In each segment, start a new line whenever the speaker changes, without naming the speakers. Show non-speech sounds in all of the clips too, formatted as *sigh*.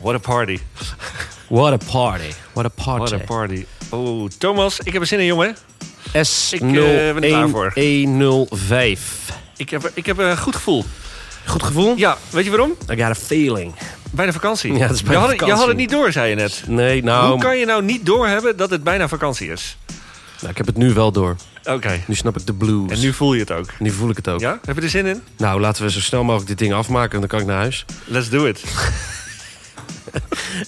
What a party.
What a party. What a
What
party.
a party. Oh, Thomas, ik heb er zin in, jongen.
s
Ik, eh, ben er klaar voor.
10105
Ik heb, ik heb een goed gevoel.
Goed gevoel?
Ja, weet je waarom?
I got a feeling.
Bij de vakantie.
Ja, het is bij
je, had,
de
je had het
vakantie.
niet door, zei je net.
Nee,
Hoe
nou,
kan je nou niet doorhebben dat het bijna vakantie is?
nou, ik heb het nu wel door.
Oké.
Nu snap ik de blues.
En nu voel je het ook.
Nu voel ik het ook.
Ja? Heb je er zin in?
Nou, laten we zo snel mogelijk dit ding afmaken en dan kan ik naar huis.
Let's do it.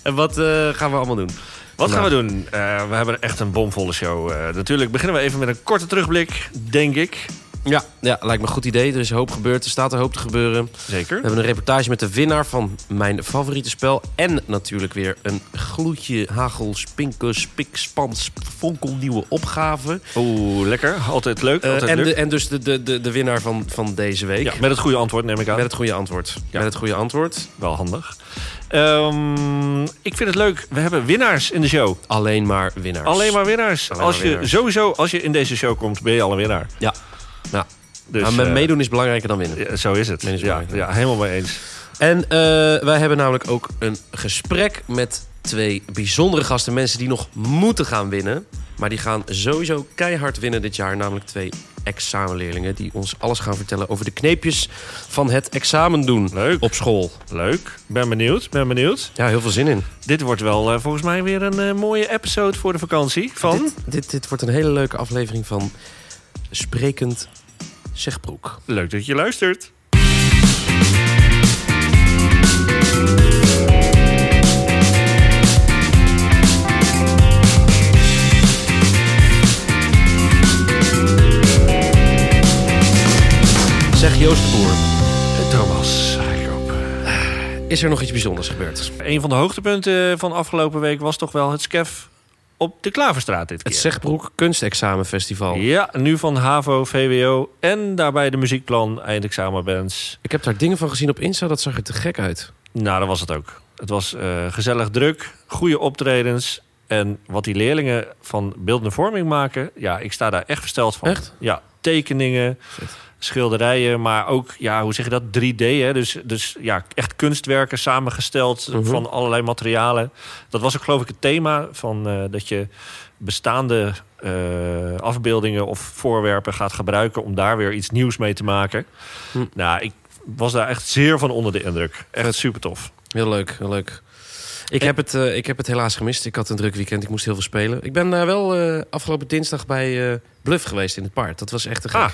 En wat eh, gaan we allemaal doen?
Wat gaan we
Nou.
doen? Eh, we hebben echt een bomvolle show. Eh, natuurlijk beginnen we even met een korte terugblik, denk ik.
Ja, ja, lijkt me een goed idee. Er is een hoop gebeurd, er staat een hoop te gebeuren.
Zeker.
We hebben een reportage met de winnaar van mijn favoriete spel. En natuurlijk weer een gloedje hagel, spinkel, spik, span, fonkelnieuwe opgave.
Oeh, lekker. Altijd leuk.
Eh,
Altijd
en,
leuk.
de, en dus de, de, de, de winnaar van, van deze week.
Ja, met het goede antwoord neem ik aan.
Met het goede antwoord.
Ja.
Met het goede antwoord.
Wel handig. Ehm, ik vind het leuk. We hebben winnaars in de show.
Alleen maar winnaars.
Alleen maar winnaars.
Alleen maar
als je,
winnaars.
Sowieso, als je in deze show komt, ben je al een winnaar.
Ja. Nou,
Dus,
nou, met
eh,
meedoen is belangrijker dan winnen.
ja, zo is het.
Meedoen is
Ja,
belangrijk.
ja, helemaal mee eens.
En eh, wij hebben namelijk ook een gesprek met twee bijzondere gasten. Mensen die nog moeten gaan winnen. Maar die gaan sowieso keihard winnen dit jaar. Namelijk twee examenleerlingen die ons alles gaan vertellen over de kneepjes van het examen doen
Leuk.
op school.
Leuk. Ben benieuwd. Ben benieuwd.
Ja, heel veel zin in.
Dit wordt wel eh, volgens mij weer een eh, mooie episode voor de vakantie. Van...
Dit, dit, dit wordt een hele leuke aflevering van Sprekend Zegbroek.
Leuk dat je luistert.
Zeg Joost de Boer,
Thomas, ik
is er nog iets bijzonders gebeurd?
Een van de hoogtepunten van afgelopen week was toch wel het SCEF op de Klaverstraat dit keer.
Het Zegbroek Kunstexamenfestival.
Ja, nu van HAVO, VWO en daarbij de muziekplan eindexamenbands.
Ik heb daar dingen van gezien op Insta, dat zag er te gek uit.
Nou, dat was het ook. Het was eh, gezellig druk, goede optredens. En wat die leerlingen van beeldende vorming maken... ja, ik sta daar echt versteld van.
Echt?
Ja, tekeningen,
Shit.
schilderijen, maar ook, ja, hoe zeg je dat, 3D. Hè? Dus, dus ja, echt kunstwerken samengesteld
Mhm.
van allerlei materialen. Dat was ook geloof ik het thema van eh, dat je bestaande eh, afbeeldingen of voorwerpen gaat gebruiken... om daar weer iets nieuws mee te maken.
Hm.
Nou, ik was daar echt zeer van onder de indruk. Echt super tof.
Heel leuk, heel leuk. Ik, heb het, eh, ik heb het helaas gemist. Ik had een druk weekend. Ik moest heel veel spelen. Ik ben eh, wel eh, afgelopen dinsdag bij eh, Bluff geweest in het paard. Dat was echt te gek.
Ah.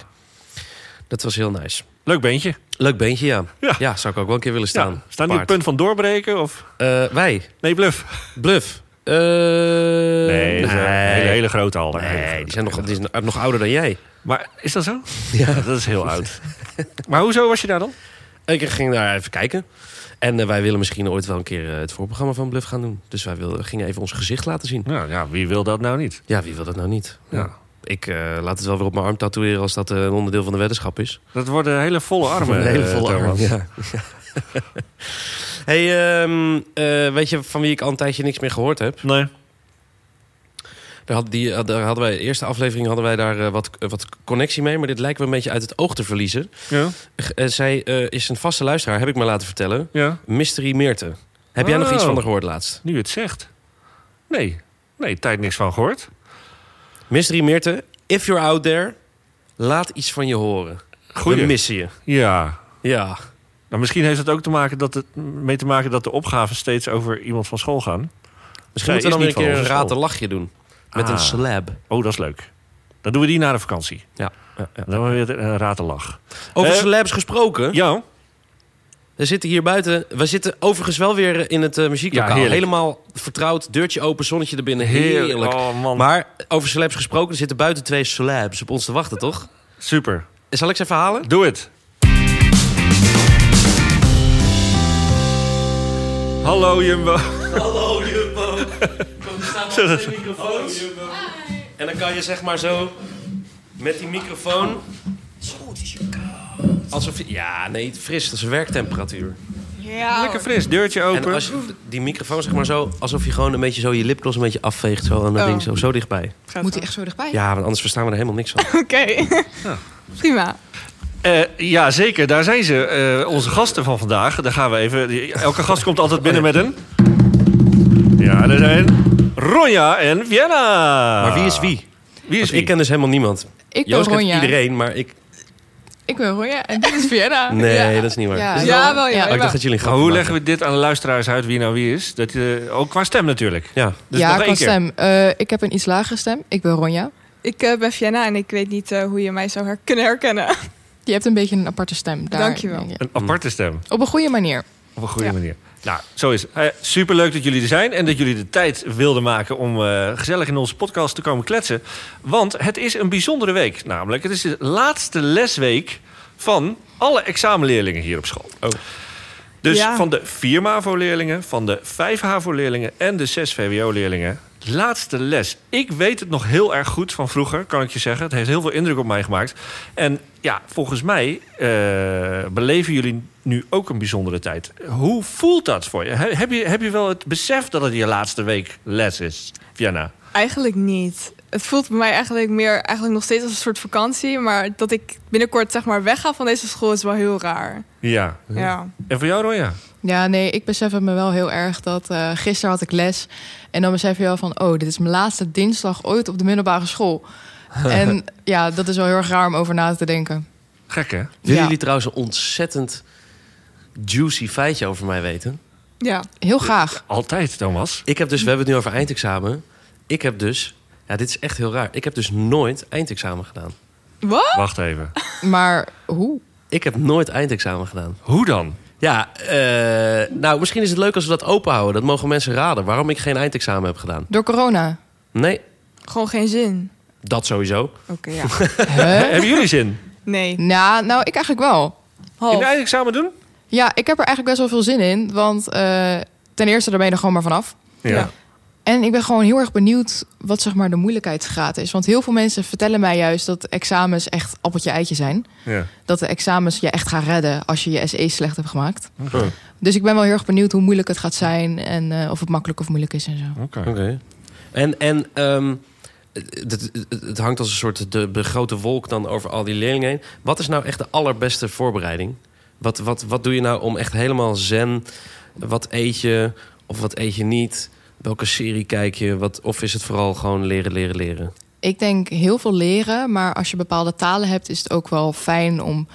Dat was heel nice.
Leuk beentje.
Leuk beentje, ja.
Ja.
ja. zou ik ook wel een keer willen staan.
Ja, staan die op
Paard.
het punt van doorbreken? Of...
Eh, wij,
Nee, bluf.
Bluff. Eh, dus,
Nee, dat is een hele, hele grote hal. daar. Hele
Nee,
grote.
die zijn nog, die zijn nog ouder dan jij.
Maar is dat zo?
*laughs* Ja.
Dat is heel
*laughs*
oud. maar hoezo was je daar dan?
Ik ging daar even kijken. En eh, wij willen misschien ooit wel een keer eh, het voorprogramma van Bluff gaan doen. Dus wij wilden, gingen even ons gezicht laten zien.
Nou ja, wie wil dat nou niet?
Ja, wie wil dat nou niet?
Ja.
Ik eh, laat het wel weer op mijn arm tatoeëren als dat eh, een onderdeel van de weddenschap is.
Dat worden hele volle armen.
Een hele
eh,
volle
Thomas.
arm. Ja. *laughs* hey, ehm, eh, weet je van wie ik al een tijdje niks meer gehoord heb?
Nee.
Daar, had die, had- daar hadden wij, de eerste aflevering hadden wij daar eh, wat, eh, wat connectie mee, maar dit lijkt me een beetje uit het oog te verliezen.
Ja.
G- eh, zij eh, is een vaste luisteraar, heb ik me laten vertellen.
ja.
Mystery Meerte. Heb jij nog iets
Oh.
van haar gehoord laatst?
Nu je het zegt. Nee. Nee, tijd niks van gehoord.
Mystery Meerte, if you're out there, laat iets van je horen. We
Goeie.
missen je.
Ja.
Ja.
Nou, misschien heeft het ook te maken dat het, mee te maken dat de opgaven steeds over iemand van school gaan.
Misschien
Zij
moeten we
is
dan weer
niet
een
van
keer een
onze school.
raten lachje doen. Met
Ah.
een slab.
Oh, dat is leuk. Dan doen we die na de vakantie.
Ja. ja, ja.
Dan hebben we weer een ratenlach.
Over
Eh,
slabs gesproken.
Ja.
We zitten hier buiten. We zitten overigens wel weer in het eh,
Ja,
muzieklokaal.
heerlijk.
Helemaal vertrouwd. Deurtje open, zonnetje erbinnen. Heerlijk.
Oh man.
Maar over slabs gesproken. Er zitten buiten twee slabs op ons te wachten, toch?
Super.
Zal ik ze even halen?
Doe het. Hallo Jumbo.
Hallo Jumbo. Kom, staan
Zo, dat-
microfoons. En dan kan je zeg maar zo met die microfoon... Alsof je... Ja, nee, fris. Dat is werktemperatuur.
Ja.
Lekker fris, deurtje
En
open.
als je die microfoon zeg maar zo... Alsof je gewoon een beetje zo je lipgloss een beetje afveegt. Zo aan dat
Oh.
ding, zo, zo dichtbij.
Moet *laughs* hij echt zo dichtbij?
Ja, want anders verstaan we er helemaal niks van.
Oké. *laughs* Prima.
Eh, ja,
Oh,
zeker. Daar zijn ze. eh, onze gasten van vandaag. Daar gaan we even. Elke gast komt altijd binnen met een. Ja, er zijn Ronja en Vienna.
Maar wie is wie?
Wie is
Want
wie?
ik ken dus helemaal niemand.
Ik ben
Joost kent
Ronja.
iedereen, maar ik...
Ik ben Ronja en dit is
*laughs*
Vienna.
Nee,
Ja.
dat is niet waar.
Ja,
Is het
Ja,
wel-
wel, ja.
Oh, ik dacht dat jullie een
Maar
grapje
hoe leggen
maakten.
we dit aan de luisteraars uit wie nou wie is? Dat, eh, ook qua stem natuurlijk.
Ja.
Dus
ja,
nog
qua
één keer.
stem. Eh, ik heb een iets lagere stem. Ik ben Ronja.
Ik eh, ben Vienna en ik weet niet eh, hoe je mij zou her- kunnen herkennen. *laughs*
Je hebt een beetje een aparte stem. Daar,
Dankjewel.
denk ik.
Een aparte stem.
Op een goede manier.
Op een goede
Ja.
manier. Nou, zo is het. Eh, superleuk dat jullie er zijn en dat jullie de tijd wilden maken om eh, gezellig in onze podcast te komen kletsen. Want het is een bijzondere week. Namelijk, het is de laatste lesweek van alle examenleerlingen hier op school.
Oh.
Dus
Ja.
van de vier MAVO-leerlingen, van de vijf HAVO-leerlingen en de zes VWO-leerlingen. Laatste les. Ik weet het nog heel erg goed van vroeger, kan ik je zeggen. Het heeft heel veel indruk op mij gemaakt. En ja, volgens mij eh, beleven jullie nu ook een bijzondere tijd. Hoe voelt dat voor je? He- Heb je, heb je wel het besef dat het je laatste week les is, Vienna?
Eigenlijk niet. Het voelt bij mij eigenlijk meer, eigenlijk nog steeds als een soort vakantie. Maar dat ik binnenkort zeg maar wegga van deze school is wel heel raar.
Ja.
Ja.
En voor jou, Ronja?
Ja, nee, ik besef het me wel heel erg dat eh, gisteren had ik les. En dan besef je wel van, oh, dit is mijn laatste dinsdag ooit op de middelbare
*laughs*
school. en ja, dat is wel heel erg raar om over na te denken.
Gek, hè?
Willen
Ja.
jullie trouwens een ontzettend juicy feitje over mij weten?
Ja.
Heel graag.
Altijd, Thomas.
Ik heb dus, we hebben het nu over eindexamen. Ik heb dus, ja, dit is echt heel raar. Ik heb dus nooit eindexamen gedaan.
Wat?
Wacht even.
Maar hoe?
Ik heb nooit eindexamen gedaan.
Hoe dan?
Ja, eh, nou, misschien is het leuk als we dat openhouden. Dat mogen mensen raden waarom ik geen eindexamen heb gedaan.
Door corona?
*laughs* Nee,
Gewoon geen zin.
dat sowieso.
Oké, ja.
Huh?
Hebben jullie zin?
Nee.
nou, nou, ik eigenlijk wel.
In een
Half.
eindexamen doen?
Ja, ik heb er eigenlijk best wel veel zin in. Want eh, ten eerste, daar ben je er gewoon maar vanaf.
Ja.
En ik ben gewoon heel erg benieuwd wat zeg maar, de moeilijkheidsgraad is. Want heel veel mensen vertellen mij juist dat examens echt appeltje-eitje zijn.
ja.
Dat de examens je echt gaan redden als je je SE slecht hebt gemaakt. Dus ik ben wel heel erg benieuwd hoe moeilijk het gaat zijn. En eh, of het makkelijk of moeilijk is en zo.
Oké.
Oké. En, en ehm, het, het- het- het hangt als een soort de, de grote wolk dan over al die leerlingen heen. Wat is nou echt de allerbeste voorbereiding? Wat, wat, wat doe je nou om echt helemaal zen? Wat eet je of wat eet je niet? Welke serie kijk je? Wat, of is het vooral gewoon leren, leren, leren?
Ik denk heel veel leren. Maar als je bepaalde talen hebt, is het ook wel fijn om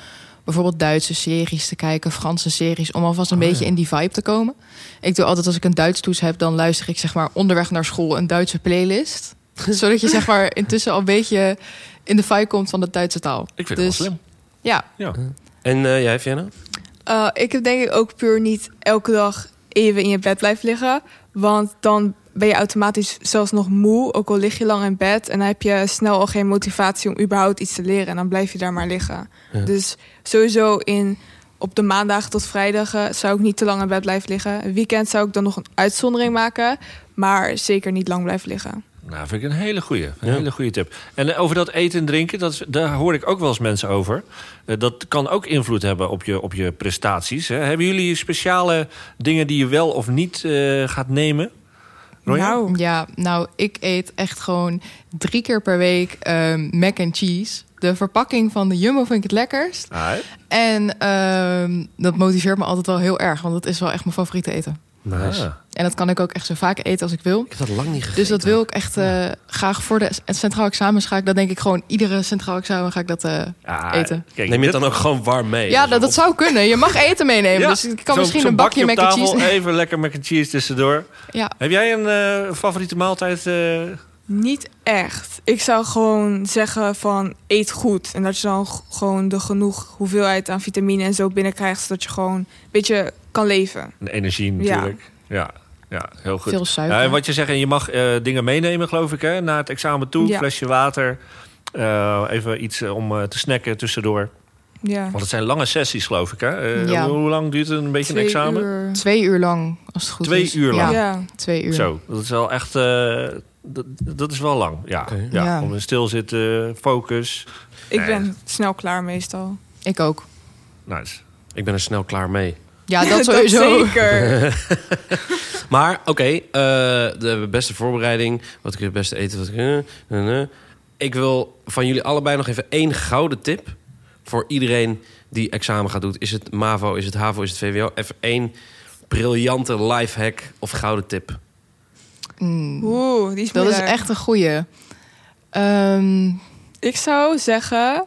bijvoorbeeld Duitse series te kijken, Franse series, om alvast
Oh,
een beetje in die vibe te komen. Ik doe altijd als ik een Duits toets heb, dan luister ik zeg maar onderweg naar school een Duitse
*laughs*
playlist, zodat je zeg maar intussen al een beetje in de vibe komt van de Duitse taal.
Ik vind het wel
Dus-
slim.
Ja,
Ja.
En eh, jij, Vienna?
Eh, ik heb denk ik ook puur niet elke dag even in je bed blijven liggen. Want dan ben je automatisch zelfs nog moe. Ook al lig je lang in bed. En dan heb je snel al geen motivatie om überhaupt iets te leren. En dan blijf je daar maar liggen.
Ja.
Dus sowieso in, op de maandagen tot vrijdagen zou ik niet te lang in bed blijven liggen. Weekend zou ik dan nog een uitzondering maken. Maar zeker niet lang blijven liggen.
Nou, vind ik een hele goede, een
Ja.
hele goede tip. En eh, over dat eten en drinken, dat, is- daar hoor ik ook wel eens mensen over. Eh, dat kan ook invloed hebben op je, op je prestaties. Hè? Hebben jullie speciale dingen die je wel of niet eh, gaat nemen? Ronja?
Nou,
ja, nou, ik eet echt gewoon drie keer per week ehm, mac and cheese. De verpakking van de Jumbo vind ik het lekkerst.
Ah, hè?
En ehm, dat motiveert me altijd wel heel erg, want dat is wel echt mijn favoriete eten.
Ah.
En dat kan ik ook echt zo vaak eten als ik wil.
Ik heb dat lang niet gegeten.
Dus dat wil ik echt eh, graag voor de het centraal examens ga ik. Dat denk ik gewoon iedere centraal examen ga ik dat eh,
Ah,
eten.
Kijk,
Neem je het
dit-
dan ook gewoon warm mee?
ja,
Dus
nou, dat, dat
op-
zou kunnen. Je mag eten meenemen.
Ja,
Dus ik kan
zo'n-
misschien
zo'n
een bakje, mac and
op
cheese.
tafel, Even lekker mac and cheese tussendoor.
Ja,
Heb jij een eh, favoriete maaltijd? eh?
Niet echt. Ik zou gewoon zeggen van eet goed. En dat je dan g- gewoon de genoeg hoeveelheid aan vitamine en zo binnenkrijgt. Zodat je gewoon een beetje kan leven.
Een energie natuurlijk. Ja, ja, heel goed.
veel
Ja, en
suiker.
wat je zegt, en je mag eh, dingen meenemen, geloof ik, hè, naar het examen toe.
Ja.
Flesje water, eh, even iets eh, om eh, te snacken tussendoor.
Ja.
Want het zijn lange sessies, geloof ik, hè? Eh,
Ja.
hoe, hoe lang duurt een beetje
Twee
een examen?
uur.
Twee uur lang, als het goed
Twee
is.
uur
Ja.
lang.
twee uur.
Zo, dat is wel echt... eh, dat, dat is wel lang, ja.
Oké.
ja.
Ja.
Om in stilzitten, focus.
Ik ben snel klaar meestal.
Ik ook.
Nice.
Ik ben er snel klaar mee.
*laughs*
*laughs*
Ja, dat sowieso.
zeker.
Maar oké, eh, de beste voorbereiding. Wat ik het beste eten. Wat ik, eh, eh, eh. ik wil van jullie allebei nog even één gouden tip. Voor iedereen die examen gaat doen. Is het MAVO, is het HAVO, is het VWO? Even één briljante lifehack of gouden tip.
Mm,
Oeh, die is
dat is
moeilijk.
echt een goeie. Ehm,
Ik zou zeggen...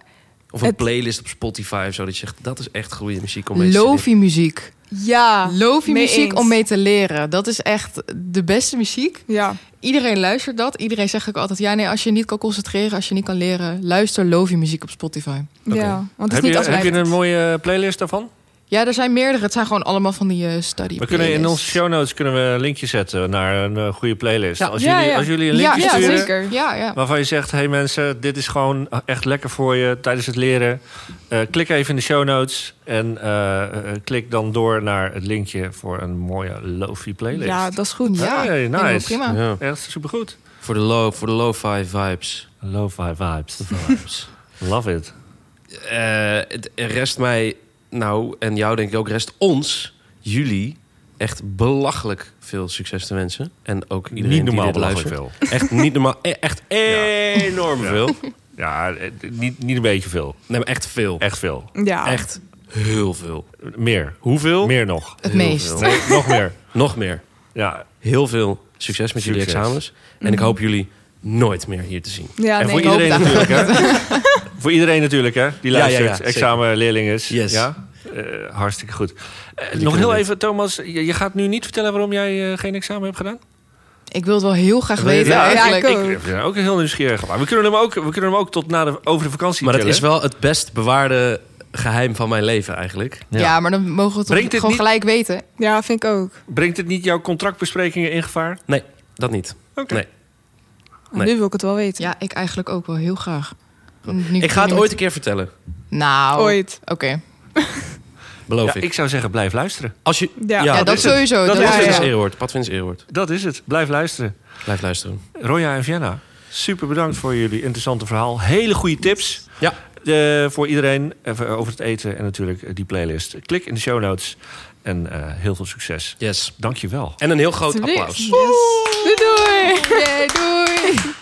Of een
Het-
playlist op Spotify of zo. Dat je zegt, dat is echt goede muziek om mee te studeren.
Lofi muziek.
Ja.
Lofi
Ah, mee
muziek
eens.
om mee te leren. Dat is echt de beste muziek.
Ja.
Iedereen luistert dat. Iedereen zegt ook altijd: ja, nee, als je niet kan concentreren, als je niet kan leren, luister Lofi muziek op Spotify.
Oké.
ja. Want het is
Heb
niet
je,
als
heb je een mooie playlist daarvan?
Ja, er zijn meerdere. Het zijn gewoon allemaal van die eh study.
We kunnen in onze
playlists.
show notes kunnen we een linkje zetten naar een eh, goede playlist.
Ja.
Als,
Ja,
jullie,
ja.
als jullie een
Ja,
linkje
ja,
sturen
zeker. Ja, ja.
waarvan je zegt... hey mensen, dit is gewoon echt lekker voor je tijdens het leren. Eh, klik even in de show notes en eh, eh, klik dan door naar het linkje... voor een mooie lofi playlist.
Ja, dat is goed.
Ja,
Hey,
helemaal
nice.
prima.
Ja.
Echt supergoed.
Voor de low, voor de lo-fi vibes.
*laughs* Lo-fi vibes.
vibes.
Love it.
Eh, het rest mij, nou en jou denk ik ook, rest ons, jullie, echt belachelijk veel succes te wensen. En ook iedereen
Niet normaal
die dit
belachelijk
luistert.
veel.
Echt niet normaal, e- echt enorm
Ja.
veel.
*laughs* Ja, eh, niet, niet een beetje veel.
Nee, maar echt veel.
Echt veel.
Ja.
Echt heel veel.
Meer.
Hoeveel?
Meer nog.
Het
Heel
meest.
veel.
Nee, nog meer.
Nog meer.
Ja.
Heel veel succes met jullie
Succes.
examens. En
Mhm.
ik hoop jullie nooit meer hier te zien.
Ja,
en
nee.
voor
ik hoop
iedereen
dat.
natuurlijk, hè?
*laughs*
voor iedereen natuurlijk, hè? Die
Ja, ja,
luistert,
ja,
examenleerling is.
Yes.
Ja? Eh, hartstikke goed. Eh, nog
kunnen
heel
dit.
even, Thomas. Je, je gaat nu niet vertellen waarom jij eh, geen examen hebt gedaan?
Ik wil het wel heel graag
Wil je-
weten.
Ja,
eigenlijk.
ik ook.
Ik ben ook heel nieuwsgierig. Maar we kunnen hem ook, we kunnen hem ook tot na de, over de vakantie
Maar dat
tillen.
is wel het best bewaarde geheim van mijn leven eigenlijk.
ja. maar dan mogen we het
Brengt dit
gewoon
niet-
gelijk weten.
Ja, vind ik ook.
Brengt het niet jouw contractbesprekingen in gevaar?
Nee, dat niet.
Oké.
Nee.
En
Nee.
Nu wil ik het wel weten.
Ja, ik eigenlijk ook wel heel graag.
Ik ga het ooit een keer vertellen.
Nou,
Ooit.
Oké.
Beloof
Ja,
ik.
ik zou zeggen, blijf luisteren.
Als je...
Ja.
Ja,
Ja,
dat
dat
is het.
sowieso.
Dat
Pat
Dat
is
is
het.
Vince
ja.
Eerwoord. Pat Vince Eerwoord.
Dat is het. Blijf luisteren.
Blijf luisteren.
Roya en Vienna, super bedankt voor jullie interessante verhaal. Hele goede tips
Ja.
eh, voor iedereen even over het eten en natuurlijk eh, die playlist. Klik in de show notes en eh, heel veel succes.
Yes.
Dank je wel.
En een heel groot
Alsjeblieft.
applaus.
Yes. Doei doei.
Yay, doei.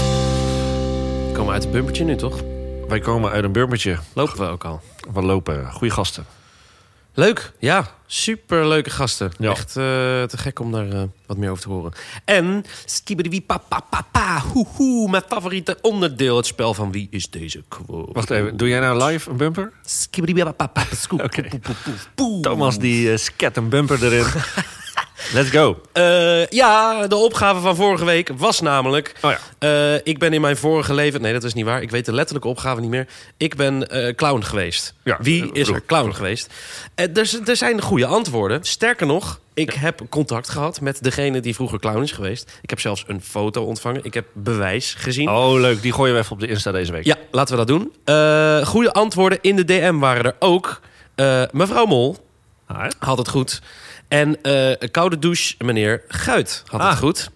We komen uit het bumpertje nu, toch?
Wij komen uit een burmertje.
Lopen we ook al.
We lopen. Goede gasten.
Leuk. Ja, superleuke gasten.
Ja.
Echt eh, te gek om daar eh, wat meer over te horen. En skibidi pa pa pa pa. Hoehoe, mijn favoriete onderdeel. Het spel van wie is deze quote?
Wacht even, doe jij nou live een bumper?
Skibidi pa pa pa. scoop,
Oké.
poep, poep, poep, poep.
Thomas die eh, sket een bumper erin.
*laughs*
Let's go.
Eh, ja, de opgave van vorige week was namelijk...
Oh ja.
eh, ik ben in mijn vorige leven... Nee, dat is niet waar. Ik weet de letterlijke opgave niet meer. Ik ben eh, clown geweest.
Ja,
Wie
eh,
is er
vroeg,
clown geweest? Eh, er, z- er zijn goede antwoorden. Sterker nog, ik heb contact gehad met degene die vroeger clown is geweest. Ik heb zelfs een foto ontvangen. Ik heb bewijs gezien.
Oh, leuk. Die gooien we even op de Insta deze week.
Ja, laten we dat doen. Eh, goede antwoorden in de DM waren er ook. Eh, mevrouw Mol
Ah, hè?
had het goed. En eh koude douche, meneer Guit had
Ah.
het goed.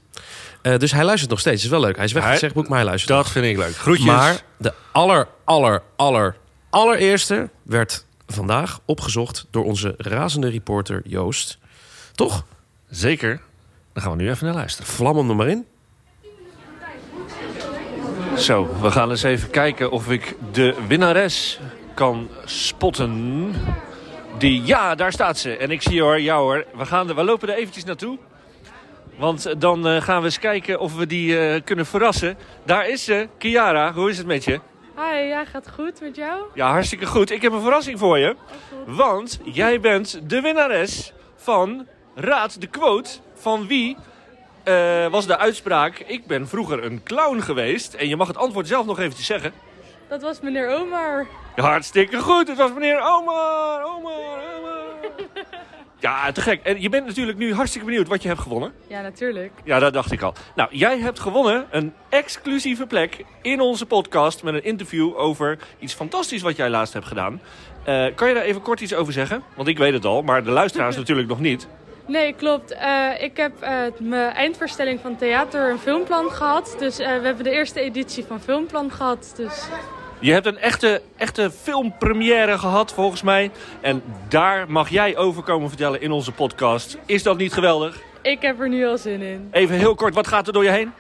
Eh, dus hij luistert nog steeds. is wel leuk. Hij is weg
Hij-
uit het boek, maar hij luistert.
dat vind ik leuk. Groetjes.
Maar de aller, aller, aller, allereerste werd vandaag opgezocht door onze razende reporter Joost. Toch?
Zeker. Dan gaan we nu even naar luisteren.
Vlam hem er maar in.
Zo, we gaan eens even kijken of ik de winnares kan spotten. Die, ja, daar staat ze. En ik zie hoor, jou hoor. We, gaan er, we lopen er eventjes naartoe. Want eh, dan eh, gaan we eens kijken of we die eh, kunnen verrassen. Daar is ze, Kiara. Hoe is het met je?
Hi, ja, gaat goed met jou?
Ja, hartstikke goed. Ik heb een verrassing voor je. Want jij bent de winnares van Raad de Quote. Van wie eh, was de uitspraak? Ik ben vroeger een clown geweest. En je mag het antwoord zelf nog eventjes zeggen.
Dat was meneer Omar.
Ja, Hartstikke goed. Het was meneer Omar. Omar, Omar. Ja, te gek. En je bent natuurlijk nu hartstikke benieuwd wat je hebt gewonnen.
Ja, natuurlijk.
Ja, dat dacht ik al. Nou, jij hebt gewonnen een exclusieve plek in onze podcast met een interview over iets fantastisch wat jij laatst hebt gedaan. Eh, kan je daar even kort iets over zeggen? Want ik weet het al, maar de luisteraars natuurlijk nog niet.
Nee, klopt. Eh, ik heb eh, mijn eindvoorstelling van theater en filmplan gehad. Dus eh, we hebben de eerste editie van filmplan gehad. Dus
Je hebt een echte, echte filmpremière gehad, volgens mij. En daar mag jij over komen vertellen in onze podcast. Is dat niet geweldig?
ik heb er nu al zin in.
Even heel kort, wat gaat er door je heen?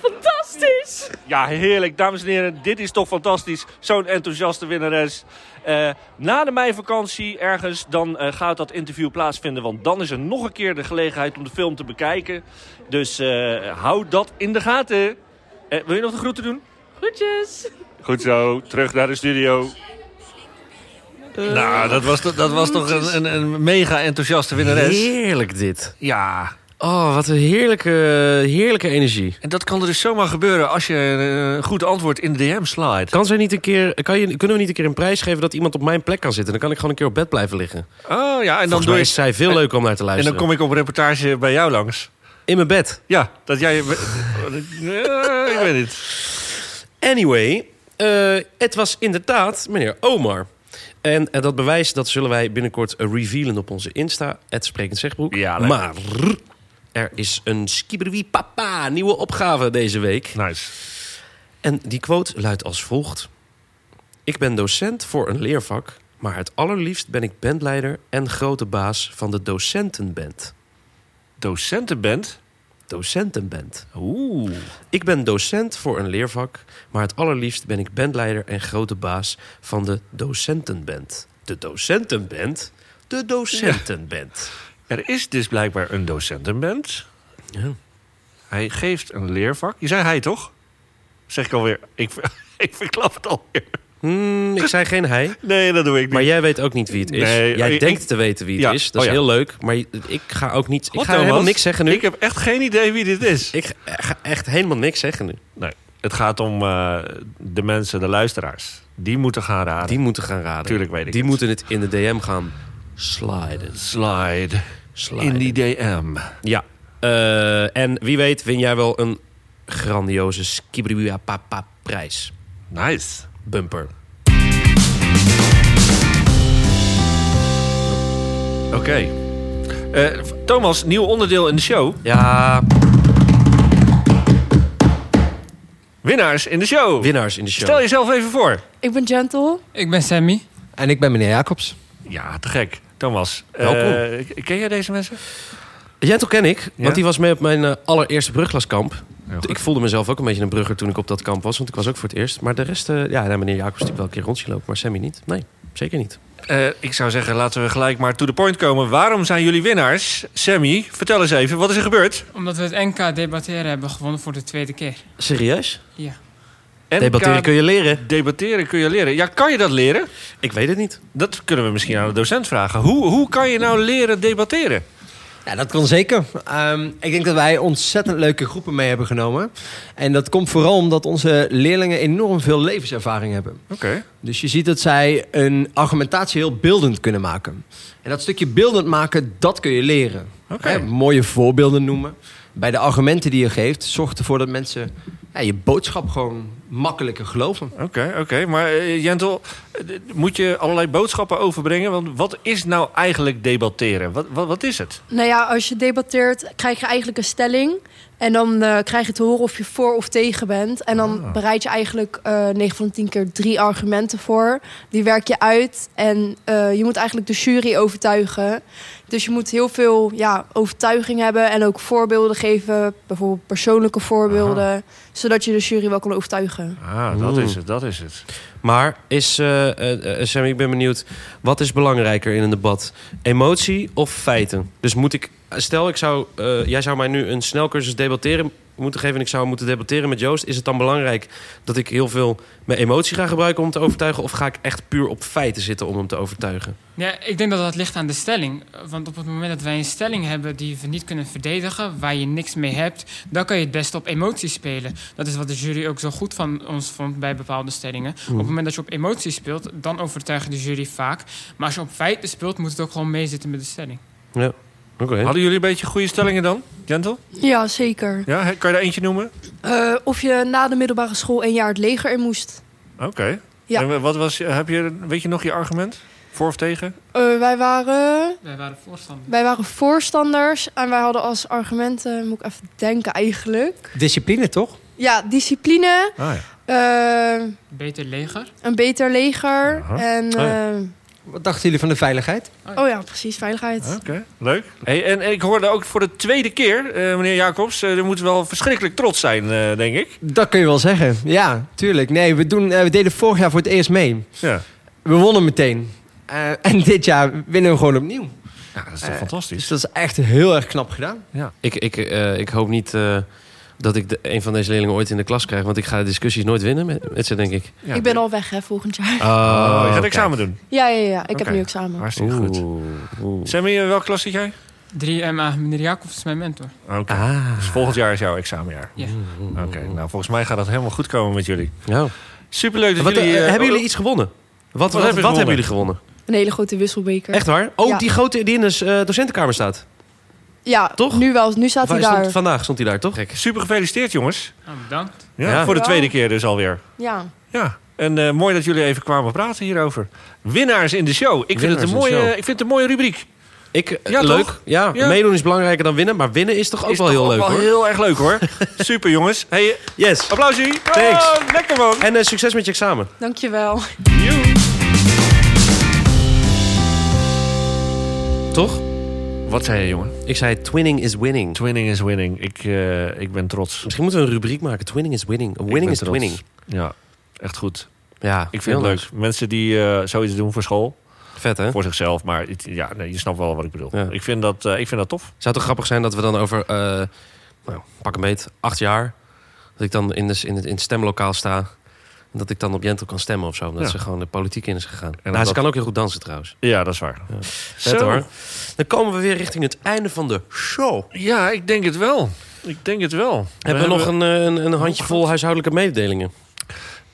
Fantastisch!
Ja, heerlijk. Dames en heren, dit is toch fantastisch. Zo'n enthousiaste winnares. Eh, na de meivakantie ergens, dan eh, gaat dat interview plaatsvinden. Want dan is er nog een keer de gelegenheid om de film te bekijken. Dus eh, hou dat in de gaten. Eh, wil je nog de groeten doen?
Groetjes!
Goed zo, terug naar de studio.
Nou, dat was, toch- dat was toch een, een, een mega enthousiaste winnares.
Heerlijk dit.
Ja,
Oh, wat een heerlijke, heerlijke energie.
En dat kan er dus zomaar gebeuren als je eh, een goed antwoord in de DM slaat.
Kan zij niet een keer, kan je, kunnen we niet een keer een prijs geven dat iemand op mijn plek kan zitten? Dan kan ik gewoon een keer op bed blijven liggen.
Oh ja, en dan,
Volgens
doe
mij
ik,
is zij veel leuker om naar te
en
luisteren.
dan kom ik op reportage bij jou langs.
In mijn bed.
Ja, dat
*laughs*
jij... Eh, ik weet het.
Anyway, eh, het was inderdaad meneer Omar. En eh, dat bewijs dat zullen wij binnenkort eh, revealen op onze Insta. Het sprekend zegbroek.
Ja, leuk.
maar er is een skibberwie papa nieuwe opgave deze week.
Nice.
En die quote luidt als volgt. Ik ben docent voor een leervak, maar het allerliefst ben ik bandleider en grote baas van de docentenband.
docentenband.
Docentenband.
Oeh.
Ik ben docent voor een leervak, maar het allerliefst ben ik bandleider en grote baas van de docentenband. De docentenband? De docentenband.
Er is dus blijkbaar een docentenband.
Ja.
Hij geeft een leervak. Je zei hij toch? Zeg ik alweer. Ik, ver- *laughs* ik verklap het alweer.
Hmm, ik zei geen hij,
Nee, dat doe ik niet.
maar jij weet ook niet wie het is.
Nee,
jij
ik-
denkt
ik-
te weten wie het
Ja,
is, dat
oh
is
ja.
heel leuk, maar ik ga ook niet... Ik
Wat,
ga helemaal
Thomas?
niks zeggen nu.
Ik heb echt geen idee wie dit is.
Ik ga echt helemaal niks zeggen nu.
Nee. Het gaat om eh, de mensen, de luisteraars. Die moeten gaan raden.
Die moeten gaan raden.
Tuurlijk weet ik
Die
het.
moeten het in de DM gaan sliden.
Slide
sliden.
in die DM.
Ja. Eh, en wie weet win jij wel een grandioze Skibria Papa prijs.
Nice.
Bumper.
Oké. Eh, Thomas, nieuw onderdeel in de show.
Ja,
Winnaars in de show.
winnaars in de show.
Stel jezelf even voor.
Ik ben Gentle.
Ik ben Sammy.
en ik ben meneer Jacobs.
Ja, te gek. Thomas,
Welkom.
eh, k- ken jij deze mensen?
Jentel ken ik,
Ja?
want die was mee op mijn eh, allereerste brugglaskamp.
Heel goed.
Ik voelde mezelf ook een beetje een brugger toen ik op dat kamp was, want ik was ook voor het eerst. Maar de rest, eh, ja, nou, meneer Jacobs die wel een keer rondje loopt, maar Sammy niet. Nee, zeker niet.
Eh, ik zou zeggen, laten we gelijk maar to the point komen. Waarom zijn jullie winnaars? Sammy, vertel eens even, wat is er gebeurd?
Omdat we het NK debatteren hebben gewonnen voor de tweede keer.
Serieus?
Ja.
En
Debatteren kun je leren.
debatteren kun je leren. Ja, kan je dat leren?
Ik weet het niet.
Dat kunnen we misschien aan de docent vragen. Hoe, hoe kan je nou leren debatteren?
Ja, dat kan zeker. Ehm, ik denk dat wij ontzettend leuke groepen mee hebben genomen. En dat komt vooral omdat onze leerlingen enorm veel levenservaring hebben.
Oké.
Dus je ziet dat zij een argumentatie heel beeldend kunnen maken. En dat stukje beeldend maken, dat kun je leren.
Oké.
Hè, mooie voorbeelden noemen. Bij de argumenten die je geeft, zorg ervoor dat mensen ja, je boodschap gewoon makkelijker geloven.
Oké, oké. Maar eh, Jentel, eh, d- moet je allerlei boodschappen overbrengen? Want wat is nou eigenlijk debatteren? Wat, wat, wat is het?
Nou ja, als je debatteert, krijg je eigenlijk een stelling. En dan eh, krijg je te horen of je voor of tegen bent. En dan bereid je eigenlijk eh 9 van de 10 keer drie argumenten voor. Die werk je uit. En eh, je moet eigenlijk de jury overtuigen. Dus je moet heel veel ja, overtuiging hebben. En ook voorbeelden geven. Bijvoorbeeld persoonlijke voorbeelden. Zodat je de jury wel kan overtuigen.
Ah, dat
Oeh.
is het, dat is het.
Maar is, eh, eh, eh, Sammy, ik ben benieuwd. Wat is belangrijker in een debat? Emotie of feiten? Dus moet ik, stel ik zou, eh, jij zou mij nu een snelcursus debatteren moeten geven... en ik zou moeten debatteren met Joost. Is het dan belangrijk dat ik heel veel mijn emotie ga gebruiken om te overtuigen... of ga ik echt puur op feiten zitten om hem te overtuigen?
Ja, ik denk dat dat ligt aan de stelling. Want op het moment dat wij een stelling hebben die we niet kunnen verdedigen, waar je niks mee hebt, dan kan je het best op emotie spelen. Dat is wat de jury ook zo goed van ons vond bij bepaalde stellingen. Op het moment dat je op emotie speelt, dan overtuigt de jury vaak. Maar als je op feiten speelt, moet het ook gewoon meezitten met de stelling.
Ja, oké.
Hadden jullie een beetje goede stellingen dan, Jentel?
Ja, zeker.
Ja, hè, kan je er eentje noemen?
Eh, of je na de middelbare school een jaar het leger in moest.
Oké.
Ja.
En wat was, heb je, weet je nog je argument? Voor of tegen?
Eh, wij waren...
Wij waren voorstander.
Wij waren voorstanders en wij hadden als argumenten, moet ik even denken eigenlijk.
Discipline, toch?
Ja, discipline,
Ah, ja.
eh,
Beter leger.
een beter leger
Aha.
en
ja.
eh,
Wat dachten jullie van de veiligheid?
Oh ja, precies, veiligheid.
Oké, leuk. Hey, en, en ik hoorde ook voor de tweede keer, eh, meneer Jacobs, eh, u moet wel verschrikkelijk trots zijn, eh, denk ik.
Dat kun je wel zeggen. Ja, tuurlijk. Nee, we, doen, eh, we deden vorig jaar voor het eerst mee.
Ja,
We wonnen meteen. Eh, en dit jaar winnen we gewoon opnieuw.
ja dat is toch
Eh, Dus
fantastisch.
dat is echt heel erg knap gedaan.
Ik, ik, eh, ik hoop niet eh, dat ik de, een van deze leerlingen ooit in de klas krijg. Want ik ga de discussies nooit winnen met, met ze, denk ik.
Ja.
ik ben al weg, hè, volgend jaar.
Oh, je gaat
kijk.
examen doen.
Ja, ja, ja. Ik
Oké.
heb nu examen.
Hartstikke goed.
Oeh, oeh.
Sammy, eh, welke klas zit jij?
3MA, meneer Jacobs is mijn mentor.
Oké.
Ah.
Dus volgend jaar is jouw examenjaar.
Ja.
Oké, nou volgens mij gaat dat helemaal goed komen met jullie.
Ja.
Superleuk dat
Wat,
jullie...
eh,
eh,
hebben jullie iets gewonnen? Wat, wat, wat,
hebben we
hebben jullie gewonnen?
Een hele grote wisselbeker.
Echt waar? Oh,
Ja.
die grote die in de eh, docentenkamer staat.
Ja,
Toch?
Nu wel. Nu staat
Of
hij
hij
daar.
stond, vandaag stond hij daar, toch?
Super gefeliciteerd, jongens.
Nou, bedankt.
Ja,
Ja.
Voor de
Ja.
tweede keer dus alweer.
Ja.
Ja, en eh, mooi dat jullie even kwamen praten hierover. Winnaars in de show. Ik, vind
Winnaars
het, een
in de
mooie,
show.
ik vind het een mooie rubriek.
Ik, eh,
Ja,
leuk.
toch?
Ja,
Ja.
meedoen is belangrijker dan winnen. Maar winnen is toch ook
Is
wel
toch
heel leuk,
wel
hoor.
heel erg leuk, *laughs* hoor. Super, jongens. Hey,
Yes.
applausje.
Thanks.
Oh, lekker, man.
En eh, succes met je examen.
Dankjewel.
Toch?
Wat zei je, jongen?
Ik zei, twinning is winning.
Twinning is winning. Ik, eh, ik ben trots.
Misschien moeten we een rubriek maken. Twinning is winning.
Ik ben
Winning is
trots.
twinning.
Ja, echt goed.
Ja,
Ik vind
heel
het leuk. Mensen die eh, zoiets doen voor school.
Vet, hè?
Voor zichzelf, maar het- ja, nee, je snapt wel wat ik bedoel.
Ja.
Ik, vind dat, eh, ik vind dat tof.
Zou het toch grappig zijn dat we dan over, eh, nou, pak een beet, acht jaar... dat ik dan in, de, in, het, in het stemlokaal sta... en dat ik dan op Jentel kan stemmen of zo. Omdat
Ja.
ze gewoon de politiek in is gegaan. En
dat-
ze kan ook heel goed dansen, trouwens.
Ja, dat is waar.
Vet, hoor. Dan komen we weer richting het einde van de show.
Ja, ik denk het wel. Ik denk het wel.
Hebben we, nog een, eh, een, een handjevol huishoudelijke mededelingen?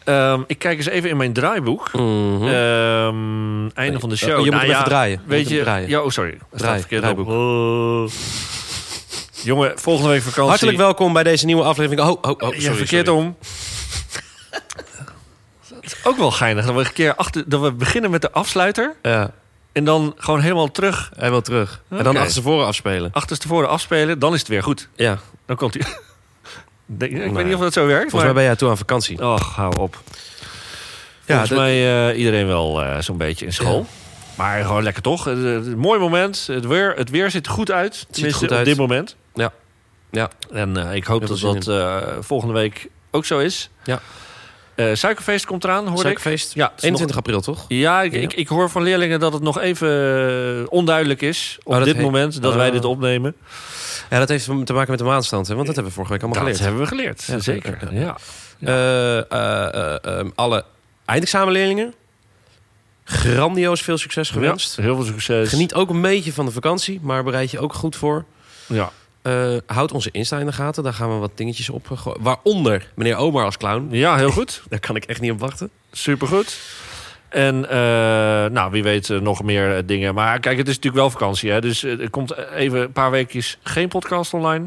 Ehm, ik kijk eens even in mijn draaiboek. Mm-hmm.
Mhm.
Eh, Ehm, einde van de show.
Oh, je moet
Nou
hem
ja,
even draaien. Je moet
Weet
hem
je,
draaien.
ja, oh sorry. Dat
Draai-
verkeerd
draaiboek.
op. Oh. *laughs* Jongen, volgende week vakantie.
Hartelijk welkom bij deze nieuwe aflevering. Oh, oh, oh sorry,
ja, verkeerd
sorry.
om. Het is ook wel geinig dat we, een keer achter, dat we beginnen met de afsluiter.
Ja,
En dan gewoon helemaal terug,
hij wil terug. En dan
Oké.
achter ze voren afspelen.
achterstevoren afspelen. Dan is het weer goed.
Ja,
Dan *laughs* komt hij. Denk- Ik
Nou,
weet niet of dat zo werkt.
volgens mij ben jij toe aan vakantie.
maar... Och, hou op.
Ja,
Volgens mij eh, iedereen wel eh, zo'n beetje in school. Maar gewoon lekker toch? Het- het- het- mooi moment. Het weer, het weer ziet er goed uit. Tenminste,
goed
op
uit.
dit moment.
Ja. Ja.
En eh, ik hoop
Heel
dat
veel
dat eh, volgende week ook zo is.
Ja.
Eh, suikerfeest komt eraan, hoor ik.
Suikerfeest.
Ja, het is
21 april, toch?
nog- ja, ik,
Ja.
Ik, ik hoor van leerlingen dat het nog even eh, onduidelijk is op
Oh, dat
dit
heet-
moment dat wij
Ah.
dit opnemen.
Ja, dat heeft te maken met de maanstand, hè? want dat hebben we vorige week allemaal
dat
geleerd.
hebben we geleerd,
Ja,
zeker.
ja, ja.
Ja.
Eh, eh, eh, ehm, alle eindexamenleerlingen, grandioos veel succes gewenst.
Ja, Dus- heel veel succes.
Geniet ook een beetje van de vakantie, maar bereid je ook goed voor.
Ja.
Eh, houd onze Insta in de gaten, daar gaan we wat dingetjes op gooien. Waaronder meneer Omar als clown.
ja, heel goed.
Daar kan ik echt niet op wachten.
Supergoed. En eh, nou, wie weet eh, nog meer eh, dingen. Maar kijk, het is natuurlijk wel vakantie. Hè? Dus eh, er komt even een paar weekjes geen podcast online.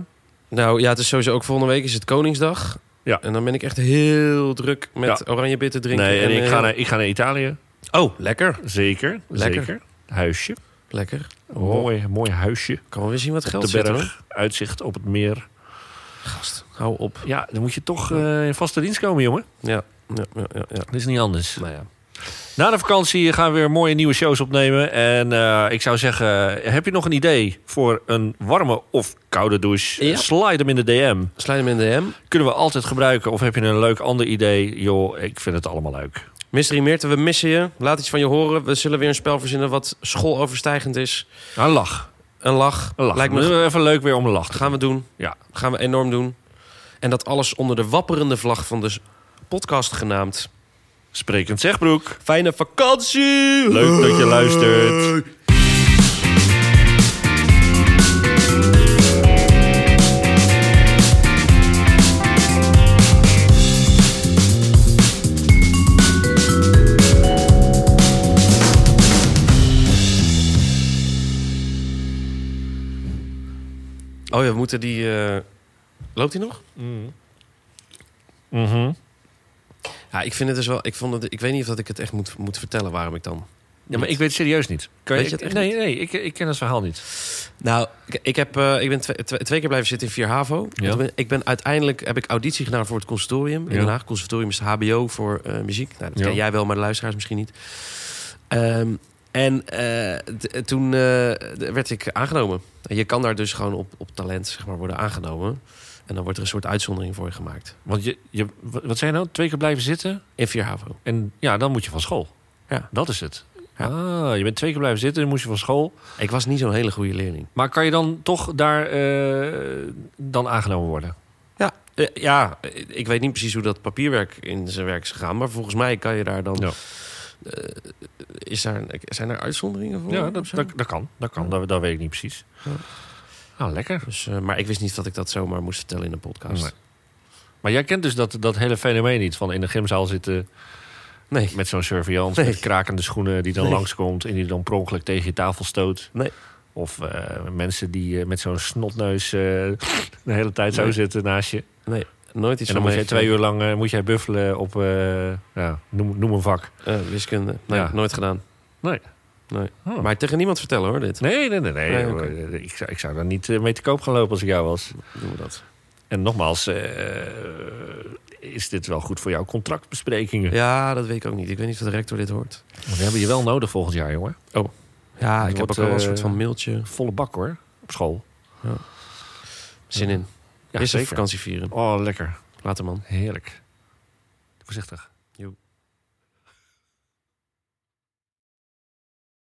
Nou ja, het is sowieso ook volgende week is het Koningsdag.
Ja.
En dan ben ik echt heel druk met oranje bitter drinken.
nee, en ik
eh,
ga, naar, ik ga naar Italië.
Oh, lekker.
Zeker.
Lekker.
Zeker. Huisje.
Lekker.
Een Mooi, mooi huisje.
Kan wel weer zien wat
Op
geld
de
zit,
berg. Uitzicht op het meer.
hoor. Gast, hou op.
Ja, dan moet je toch eh, in vaste dienst komen, jongen.
Ja, ja, ja, ja. ja.
Dat is niet anders.
Nou ja.
Na de vakantie gaan we weer mooie nieuwe shows opnemen. En eh, ik zou zeggen, heb je nog een idee voor een warme of koude douche?
Ja.
Slide hem in de DM.
Slijt hem in de DM.
kunnen we altijd gebruiken. Of heb je een leuk ander idee? Joh, ik vind het allemaal leuk.
Mystery Meerte, we missen je. Laat iets van je horen. We zullen weer een spel verzinnen wat schooloverstijgend is.
Een lach.
Een Nou, lach.
Een lach.
Lijkt
Het
me...
is Even leuk weer om een lach te
Gaan we doen.
Ja.
Gaan we enorm doen. En dat alles onder de wapperende vlag van de s- podcast genaamd.
doen. Sprekend Zegbroek.
Fijne vakantie!
Leuk dat je luistert.
Oh ja, we moeten die... eh, Loopt hij nog?
Mm-hmm. Mhm.
Ja, ik vind het dus wel... Ik, vond het, ik weet niet of dat ik het echt moet, moet vertellen waarom ik dan...
Ja, maar ik weet het serieus niet. Kan
Weet
ik-
je het echt
nee, nee, ik, ik ken het verhaal niet.
Nou, ik, ik, heb, eh, ik ben twee, twee, twee keer blijven zitten in 4 HAVO. Want
Ja.
Ik, ben, ik ben uiteindelijk heb ik auditie gedaan voor het conservatorium. In
Ja.
Den Haag. Conservatorium is HBO voor eh, muziek. Nou, dat
Ja.
ken jij wel, maar de luisteraars misschien niet. Ehm, En eh, t- toen eh, d- werd ik aangenomen. En Je kan daar dus gewoon op, op talent zeg maar, worden aangenomen. En dan wordt er een soort uitzondering voor je gemaakt.
Want je, je, wat wat zei je nou? Twee keer blijven zitten?
In 4 HAVO.
En ja, dan moet je van school.
Ja.
Dat is het.
Ja.
Ah, je bent twee keer blijven zitten, dan moest je van school.
Ik was niet zo'n hele goede leerling.
Maar kan je dan toch daar eh, dan aangenomen worden?
Ja, eh, ja, eh, ik weet niet precies hoe dat papierwerk in zijn werk is gegaan. Maar volgens mij kan je daar dan...
Ja.
Eh, is daar, zijn er uitzonderingen voor?
Ja, dat,
of zo?
dat, dat kan. Dat kan. Dat, dat weet ik niet precies.
Ja.
Nou, lekker.
Dus, eh, maar ik wist niet dat ik dat zomaar moest vertellen in een podcast.
Nee. Maar jij kent dus dat, dat hele fenomeen niet van in de gymzaal zitten
Nee.
met zo'n surveillance,
Nee.
met krakende schoenen die dan
Nee.
langskomt en die dan per ongeluk tegen je tafel stoot.
Nee.
Of eh, mensen die eh, met zo'n snotneus eh, *laughs* de hele tijd zo
Nee.
zitten naast je.
Nooit iets
en dan
van
moet jij
meegekregen.
twee uur lang eh, moet jij buffelen op, eh, ja, noem, noem een vak.
Eh, wiskunde. Nee,
Ja.
nooit gedaan.
Nee.
Nee.
Oh.
Maar tegen niemand vertellen hoor, dit.
Nee, nee, nee. nee.
Nee, oké.
Eh, ik, zou, ik zou daar niet eh, mee te koop gaan lopen als ik jou was.
Doen we dat.
En nogmaals, eh, is dit wel goed voor jouw contractbesprekingen?
Ja, dat weet ik ook niet. Ik weet niet of de rector dit hoort.
Want we hebben je wel nodig volgend jaar, jongen.
Ja, ik
Het
heb
wordt,
ook wel een
eh,
soort van mailtje.
Volle bak hoor, op school.
Zin in.
Ja,
Is er
zeker.
vakantie vieren.
Oh, lekker.
Later man.
Heerlijk. Voorzichtig.
Jo.